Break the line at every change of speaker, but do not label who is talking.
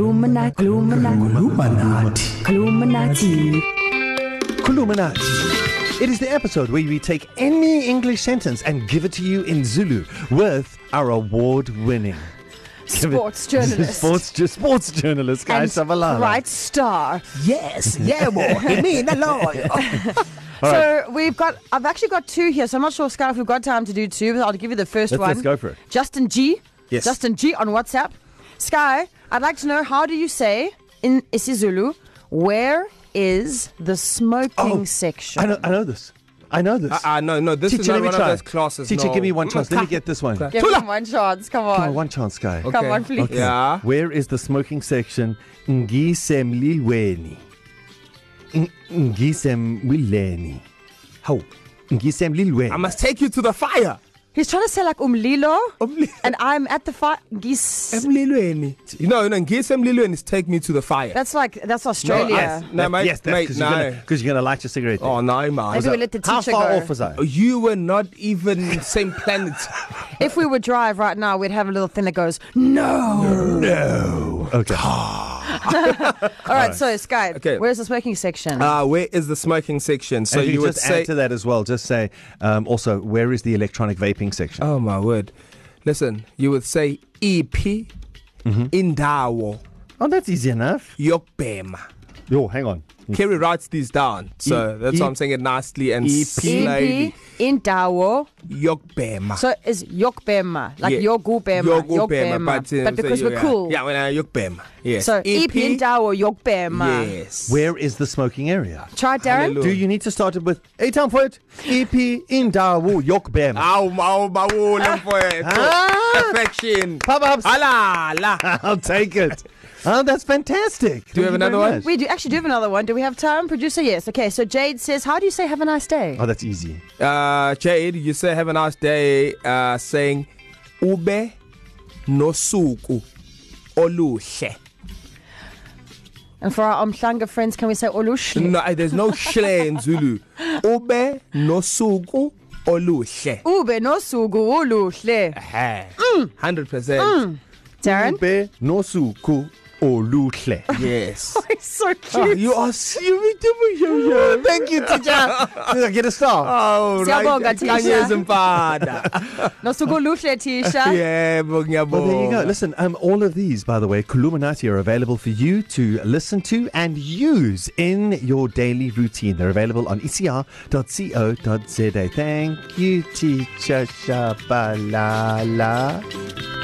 Kolumna, Kolumna,
Illuminati.
Kolumnati.
Kulumanati. It is the episode where we take any English sentence and give it to you in Zulu with our award winning
Sports journalist.
sports, ju- sports journalist, Guy
and
Savalala.
right star.
Yes, yeah, boy. Give me the lawyer.
so we've got, I've actually got two here. So I'm not sure, Sky, if we've got time to do two, but I'll give you the 1st
Let's-
one.
let's go for it.
Justin G.
Yes.
Justin G. on WhatsApp. Sky, I'd like to know how do you say in isiZulu, where is the smoking
Oh,
section?
I know, I know this. I know this.
Ah, uh, no, no, this is
Teacher,
not
let me
one
try.
of those classes.
Teacher,
no.
give me one
Mm,
chance. Let me get this one.
Okay.
Come
Give
Tula.
him one chance. Come on.
on, one chance, guy.
Come on, please.
Okay.
Yeah.
Where is the smoking section? Ngisemlilweni. Ng- Ngisemlilweni. How? Ngisemlilweni.
I must take you to the fire.
He's trying to say like umlilo,
Umlilo.
and I'm at the fire. Gis.
Emlilweni. You know, no, ngisemlilweni is take me to the fire.
That's like that's
No,
Australia.
yes,
No,
that-
mate,
yes, that's
mate,
because
no.
you're, gonna- 'cause you're gonna light your cigarette. Oh,
oh,
there.
no, man.
Maybe we let the
How
teacher
far
go.
off was I?
You were not even same planet.
If we would drive right now, we'd have a little thing that goes, no.
Okay.
Ah.
All right, so Sky,
Okay.
where's the smoking section?
Ah, where is the smoking section? So
So you,
you would
just
say.
add to that as well. Just say um, also where is the electronic vaping section?
oh my word! Listen, you would say E EP
Mm-hmm.
indawo
oh, that's easy enough.
yokbema.
Yo, hang on.
Kerry writes these down, so
E-
that's
E-
why I'm saying it nicely and
EP.
slowly.
EP E in Dawo.
Yokbema.
So is Yokbema, like
Yeah.
Yogubema,
Yokubhema, but, uh,
But
so
because we're
yeah.
cool.
Yeah, E when I Yokubhema. Yes.
So EP in Dawo, Yokbema.
Yes.
Where is the smoking area?
Try it, Darren.
Hallelujah.
Do you need to start it with a town for it? EP in Dawu Yokbem.
Aw, aw,
Ah.
bawula mfowethu. Affection.
Pop ups.
Ah. Halala.
I'll take it. Oh, that's fantastic.
Do you have
Thank
another
very
one?
much.
We do actually do have another one. Do we have time? Producer, yes. Okay, so Jade says, How do you say have a nice day?
Oh, that's easy.
Ah.
Uh, Jade, you say have a nice day uh, saying ube nosuku oluhle.
And for our Umhlanga friends, can we say Olushli?
No, uh, there's no shle in Zulu. Ube nosuku oluhle.
Ube no sugu Olushli.
Aha.
Mm.
100%.
Darren?
Ube nosuku oluhle.
Yes.
It's so cute.
Oh, you are serious. Thank you, teacher.
Did I get a star?
Oh,
Siyabonga,
right.
teacher.
Kanye Zimpada.
Nosugu Olushli, Tisha.
Yebo, ngiyabonga.
Well, there you go. Listen, um, all of these, by the way, Kuluminati are available for you to listen to and use in your daily routine. They're available on E ecr.co.za. Thank you, teacher Shabalala.